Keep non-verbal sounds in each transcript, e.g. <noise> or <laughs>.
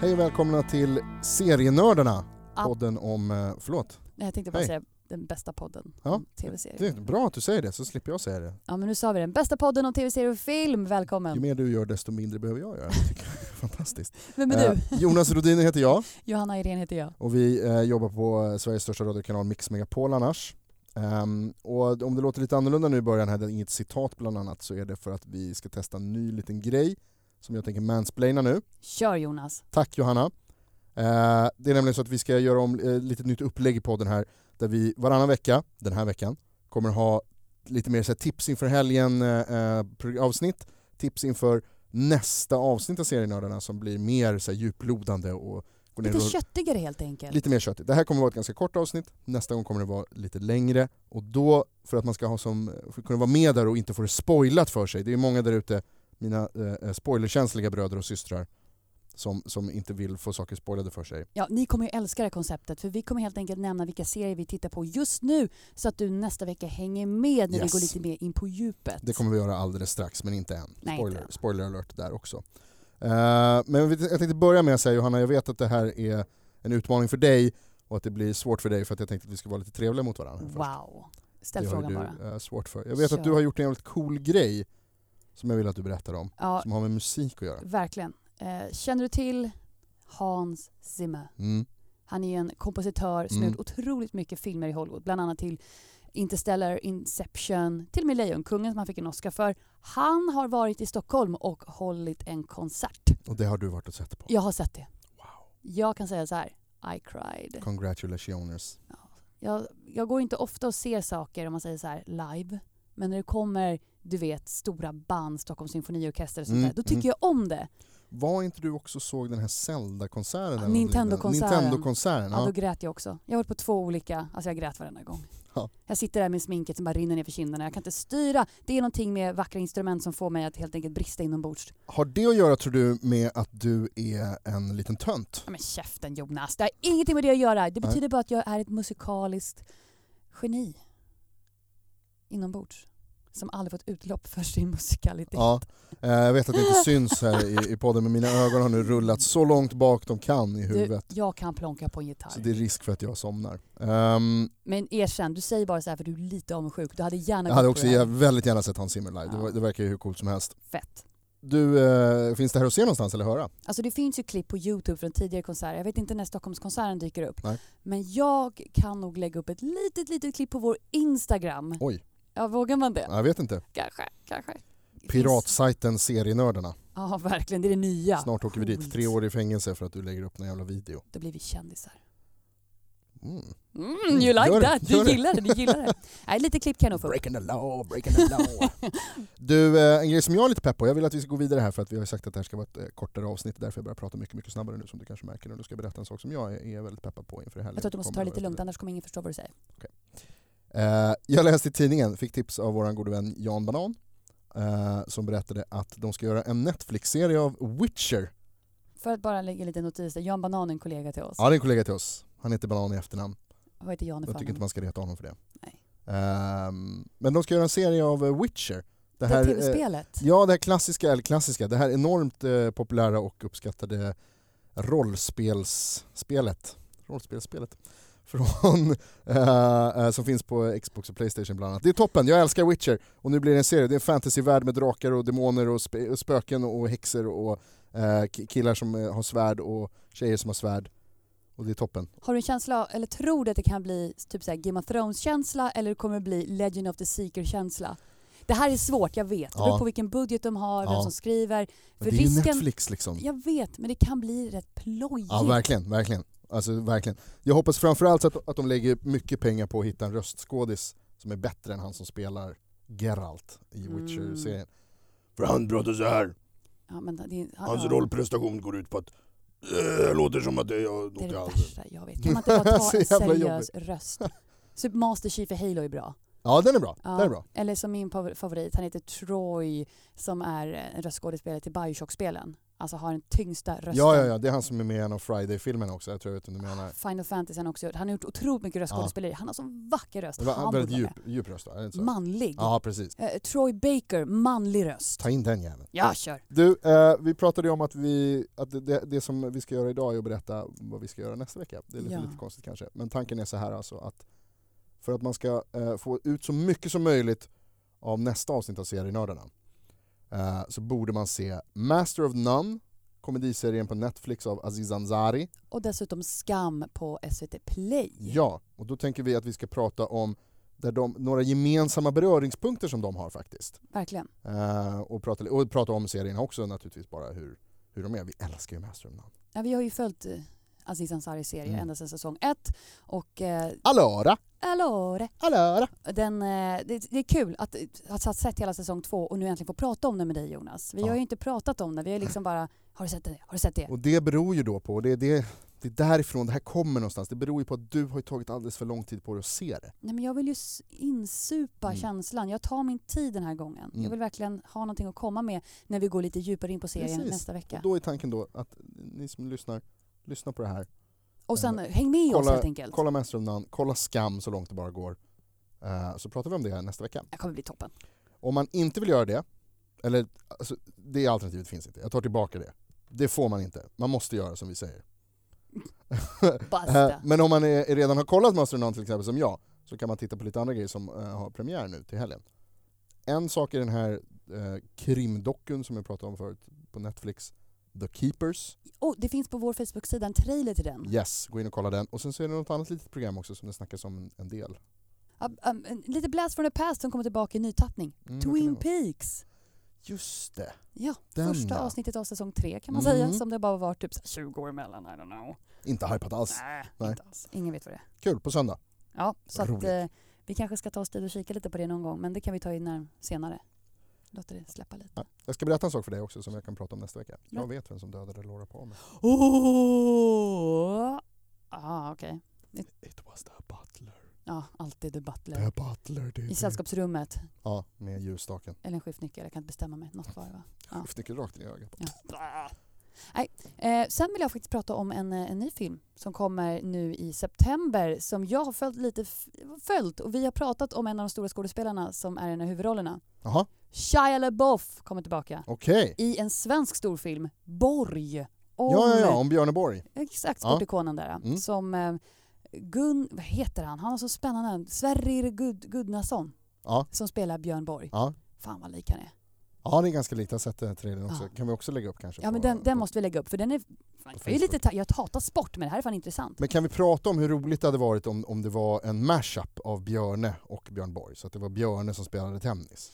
säger välkomna till Serienördarna, Ja. podden om, eh, förlåt, Nej, jag tänkte bara Hej. säga den bästa podden Ja, om det är tv-serier. bra att du säger det så slipper jag säga det. Ja, men nu sa vi den bästa podden om tv-serier och film. Ju Välkommen! mer du gör desto mindre behöver jag göra. Det tycker jag är <laughs> fantastiskt. Vem är du? Eh, Jonas Rodin heter jag <laughs> Johanna Irene heter jag. och vi eh, jobbar på eh, Sveriges största radiokanal Mix Megapol annars. Ehm, och om det låter lite annorlunda nu i början här, det är inget citat bland annat, så är det för att vi ska testa en ny liten grej som jag tänker mansplaina nu. Kör Jonas! Tack Johanna. Eh, det är nämligen så att vi ska göra om eh, lite nytt upplägg i podden här där vi varannan vecka, den här veckan, kommer ha lite mer så här, tips inför helgen eh, eh, pro- avsnitt, tips inför nästa avsnitt av Serienördarna som blir mer så här, djuplodande och går ner Lite och- köttigare helt enkelt. lite mer köttigt. Det här kommer vara ett ganska kort avsnitt, nästa gång kommer det vara lite längre och då, för att man ska ha som, för att kunna vara med där och inte få det spoilat för sig, det är ju många där ute, mina eh, spoilerkänsliga bröder och systrar, som, som inte vill få saker spoilade för sig. Ja, ni kommer ju älska det här konceptet för vi kommer helt enkelt nämna vilka serier vi tittar på just nu så att du nästa vecka hänger med när vi Yes. går lite mer in på djupet. Det kommer vi göra alldeles strax, men inte än. Nej, spoiler, inte än. spoiler alert där också. Eh, men vi- jag tänkte börja med att säga Johanna, jag vet att det här är en utmaning för dig och att det blir svårt för dig för att jag tänkte att vi ska vara lite trevliga mot varandra. här Mm. först. Wow! Ställ det har ju frågan du bara. eh, svårt för. Jag vet att Kör. du har gjort en jävligt cool grej som jag vill att du berättar om, Ja, som har med musik att göra. verkligen. Eh, känner du till Hans Zimmer? Mm. Han är ju en kompositör som har Mm. gjort otroligt mycket filmer i Hollywood. Bland annat till Interstellar, Inception, till och med Lejonkungen som han fick en Oscar för. Han har varit i Stockholm och hållit en konsert. Och det har du varit och sett på. Jag har sett det. Wow. Jag kan säga så här, I cried. Congratulations. Jag, jag går inte ofta och ser saker om man säger så här live. Men när det kommer, du vet, stora band, Stockholms symfoniorkester och sånt Mm, där, då tycker mm. jag om det. Var inte du också såg den här Zelda-konserten? eller Ja, någonting? Nintendo-konserten. Nintendo-konserten, Ja. ja. då grät jag också. Jag har varit på två olika, alltså jag grät varenda gång. Ja. Jag sitter där med sminket som bara rinner ner för kinderna. Jag kan inte styra. Det är någonting med vackra instrument som får mig att helt enkelt brista inombords. Har det att göra tror du med att du är en liten tönt? Ja, men käften Jonas, det har ingenting med det att göra. Det Nej. betyder bara att jag är ett musikaliskt geni. Inombords. Som aldrig fått utlopp för sin musikalitet. Ja. Eh, Jag vet att det inte syns här i, i podden men mina ögon har nu rullat så långt bak de kan i du, huvudet. jag kan plonka på en gitarr. Så det är risk för att jag somnar. Ehm, Men erkänn, du säger bara så här för du är lite avundsjuk. Du hade gärna jag hade gått på också det här. jag väldigt gärna sett Hans Zimmer live, det, Ja. var, det verkar ju hur coolt som helst. Fett. Du, eh, finns det här att se någonstans eller höra? Alltså det finns ju klipp på Youtube från tidigare konserter. Jag vet inte när Stockholmskonserten dyker upp. Nej. Men jag kan nog lägga upp ett litet, litet klipp på vår Instagram. Oj. Ja, vågar man det? Jag vet inte. Kanske, kanske. Finns- Piratsajten Serienördarna. Ja, verkligen. Det är det nya. Snart åker vi dit. Coolt. Tre år i fängelse för att du lägger upp en jävla video. Då blir vi kändisar. Mm. Mm, you like Gör det, that! gör Du det. gillar det, du gillar <laughs> det. Nej, lite klipp kan jag nog få upp. Breaking the law, breaking the <laughs> law. du, eh, en grej som jag är lite pepp på. Jag vill att vi ska gå vidare här för att vi har ju sagt att det här ska vara ett eh, kortare avsnitt. Därför jag börjar prata mycket, mycket snabbare nu som du kanske märker. Och då ska jag berätta en sak som jag är, är väldigt peppad på inför helgen. Jag tror att du måste ta Kommer det lite att- lugnt, annars kommer ingen förstå vad du säger. Eh, jag läste i tidningen, fick tips av vår gode vän Jan Banan eh, som berättade att de ska göra en Netflix-serie av Witcher. För att bara lägga lite notis där. Jan Banan är en kollega till oss. Ja, det är en kollega till oss. Han heter Banan i efternamn. Vad heter Jan i Jag tycker förnamn? inte man ska reta honom för det. Nej. Ehm, men de ska göra en serie av eh, Witcher. Det här, här eh, tv-spelet. ja, det här klassiska, eller klassiska, det här enormt eh, populära och uppskattade rollspelsspelet. Rollspelsspelet. <laughs> Från, eh, eh, som finns på Xbox och Playstation bland annat. Det är toppen, jag älskar Witcher. Och nu blir det en serie, det är en fantasyvärld med drakar och demoner och spe- och spöken och häxor och eh, ki- killar som eh, har svärd och tjejer som har svärd. Och det är toppen. Har du en känsla, eller tror du att det kan bli typ så här Game of Thrones-känsla eller kommer det bli Legend of the Seeker-känsla? Det här är svårt, jag vet. Det beror Ja. på vilken budget de har, vem Ja. som skriver. Men För det är ju risken- Netflix liksom. Jag vet, men det kan bli rätt plojigt. Ja, verkligen, verkligen. Alltså, verkligen. Jag hoppas framförallt att, att de lägger mycket pengar på att hitta en röstskådis som är bättre än han som spelar Geralt i Mm. Witcher-serien. För han pratar så här. Ja, men det, är- ja, Alltså, Hans ja, rollprestation går ut på att det låter som att jag har något det är i det halsen. värsta jag vet. Kan man inte <laughs> bara ta Så en jävla seriös röst? Så Master Chief i Halo är bra. Ja, den är bra. Ja. Den är bra. Eller som min favor- favorit, han heter Troy som är en röstskådespelare till Bioshock-spelen. Alltså har den tyngsta rösten. Ja, ja, ja, det är han som är med i en av Friday-filmerna också, jag tror jag vet vem du menar. Final Fantasy har han också gjort. Han har gjort otroligt mycket röstskådespeleri. Han har sån vacker röst. Det var Han väldigt borde vara djup, djup röst va? Är det inte med. så? Manlig. Ja, precis. Eh, Troy Baker, manlig röst. Ta in den jäveln. Ja, kör. Du, eh, vi pratade ju om att, vi, att det- det, det som vi ska göra idag är att berätta vad vi ska göra nästa vecka. Det är lite, Ja. lite konstigt kanske, men tanken är så här alltså att för att man ska eh, få ut så mycket som möjligt av nästa avsnitt av Serienördarna eh, så borde man se Master of None, komediserien på Netflix av Aziz Ansari. Och dessutom Skam på SVT Play. Ja, och då tänker vi att vi ska prata om där de, några gemensamma beröringspunkter som de har faktiskt. Verkligen. Eh, och, prata, och prata om serierna också naturligtvis bara hur, hur de är. Vi älskar ju Master of None. Ja, vi har ju följt eh, Aziz Ansaris serie Mm. ända sedan säsong ett. Och eh, Allora! allora, Allora! den, eh, det, det är kul att, eh, att ha sett hela säsong två och nu äntligen få prata om den med dig Jonas. Vi Ja. har ju inte pratat om den, vi har ju liksom bara, har du sett det? Har du sett det? Och det beror ju då på, det, det, det är därifrån det här kommer någonstans, det beror ju på att du har ju tagit alldeles för lång tid på dig att se det. Nej, men jag vill ju s- insupa Mm. känslan. Jag tar min tid den här gången. Mm. Jag vill verkligen ha någonting att komma med när vi går lite djupare in på serien Precis. nästa vecka. Och då är tanken då att ni som lyssnar, lyssna på det här. Och sen eh, häng med oss kolla- helt enkelt. Kolla Master of None, kolla Skam så långt det bara går. Eh, så pratar vi om det här nästa vecka. Det kommer bli toppen. Om man inte vill göra det, eller alltså, det alternativet finns inte, jag tar tillbaka det. Det får man inte, man måste göra som vi säger. Eh, <laughs> Basta. Men om man är, redan har kollat Master of None till exempel som jag, så kan man titta på lite andra grejer som eh, har premiär nu till helgen. En sak är den här eh, krimdocken som jag pratade om förut på Netflix, The Keepers. Oh, det finns på vår Facebook-sida en trailer till den. Yes, gå in och kolla den. Och sen så är det något annat litet program också som det snackas om en del. Ab- ab- um, en- lite Blast from the Past som kommer tillbaka i ny tappning. Mm, vad kan det Twin vara? Peaks. Just det. Ja, Den, första ja. avsnittet av säsong tre kan man Mm. säga. Som det bara var typ så här 20 år emellan. I don't know. Inte hypat alls. Nej, Nej. inte alls. Ingen vet vad det är. Kul, på söndag. Ja, så att, Roligt. eh, vi kanske ska ta oss tid och kika lite på det någon gång. Men det kan vi ta in när, senare. Låter det släppa lite. Ja. Jag ska berätta en sak för dig också som jag kan prata om nästa vecka. Ja. Jag vet vem som dödade Laura Palmer. Åh! Ah, okej. It was the butler. Ja, alltid The Butler. The butler did I it. sällskapsrummet. Ja, med ljusstaken. Eller en skiftnyckel. Jag kan inte bestämma mig. Något var det va? Ja. Skiftnyckel rakt in i ögat. Ja. Nej. Eh, sen vill jag faktiskt prata om en, eh, en ny film som kommer nu i september som jag har följt lite f- följt och vi har pratat om en av de stora skådespelarna som är en av huvudrollerna. Jaha, Shia LaBeouf kommer tillbaka okej. i en svensk storfilm, Borg. Om, Ja, ja, ja, om Björneborg. Exakt, Ja. sportikonen där. Mm. Som eh, Gun... Vad heter han? Han har så spännande namn. Sverrir Gud, Gudnason Ja. som spelar Björn Borg. Ja. Fan vad lik han är. Ja det är ganska likt, jag har sett den här trailern också. Ja. Kan vi också lägga upp kanske? Ja på- men den, den på- måste vi lägga upp för den är... Fan, jag, är lite ta- jag hatar sport men det här är fan intressant. Men kan vi prata om hur roligt det hade varit om, om det var en mashup av Björne och Björn Borg? Så att det var Björne som spelade tennis.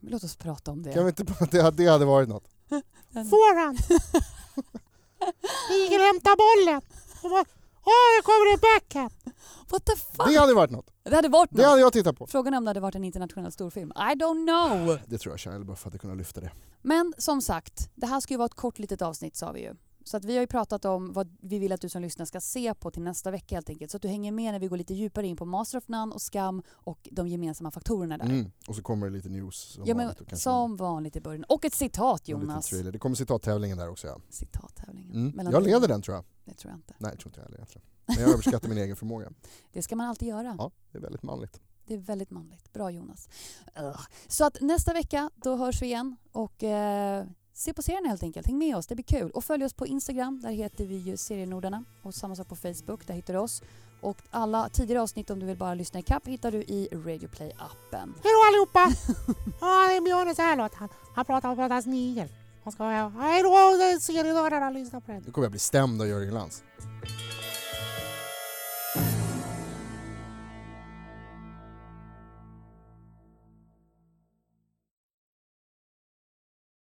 Låt oss prata om det. Kan vi inte prata det, hade- det hade varit något. Får han? Igel hämtar bollen. Och bara, Åh, det kommer en backhand. What the fuck? Det hade varit något. Det hade varit Det något. hade jag tittat på. Frågan är om det hade varit en internationell storfilm. I don't know. Det tror jag Shia LaBeouf hade kunnat lyfta det. Men som sagt, det här ska ju vara ett kort litet avsnitt sa vi ju. Så att vi har ju pratat om vad vi vill att du som lyssnar ska se på till nästa vecka helt enkelt. Så att du hänger med när vi går lite djupare in på Master of None och Skam och de gemensamma faktorerna där. Mm. Och så kommer det lite news. Som ja, men, vanligt och kanske som vanligt i början. Och ett citat en- en liten Jonas. trailer. Det kommer citat-tävlingen där också ja. Citattävlingen. Mm. Mellan Jag dig och leder mig. den tror jag. Det tror jag inte. Nej det tror inte jag heller egentligen. Men jag överskattar min egen <laughs> förmåga. Det ska man alltid göra. Ja, det är väldigt manligt. Det är väldigt manligt. Bra Jonas. Ugh. Så att nästa vecka, då hörs vi igen. Och eh, se på serien helt enkelt. Häng med oss, det blir kul. Och följ oss på Instagram, där heter vi ju Serienordarna. Och samma sak på Facebook, där hittar du oss. Och alla tidigare avsnitt om du vill bara lyssna i kapp hittar du i Radioplay-appen. Hej då allihopa. Ja, det är Björne. Så här låter han. Han pratar om Bröderna Snigel. Han ska vara hej då, det är serienördarna. Lyssna på den. Nu kommer jag bli stämd av Jörgen Lantz.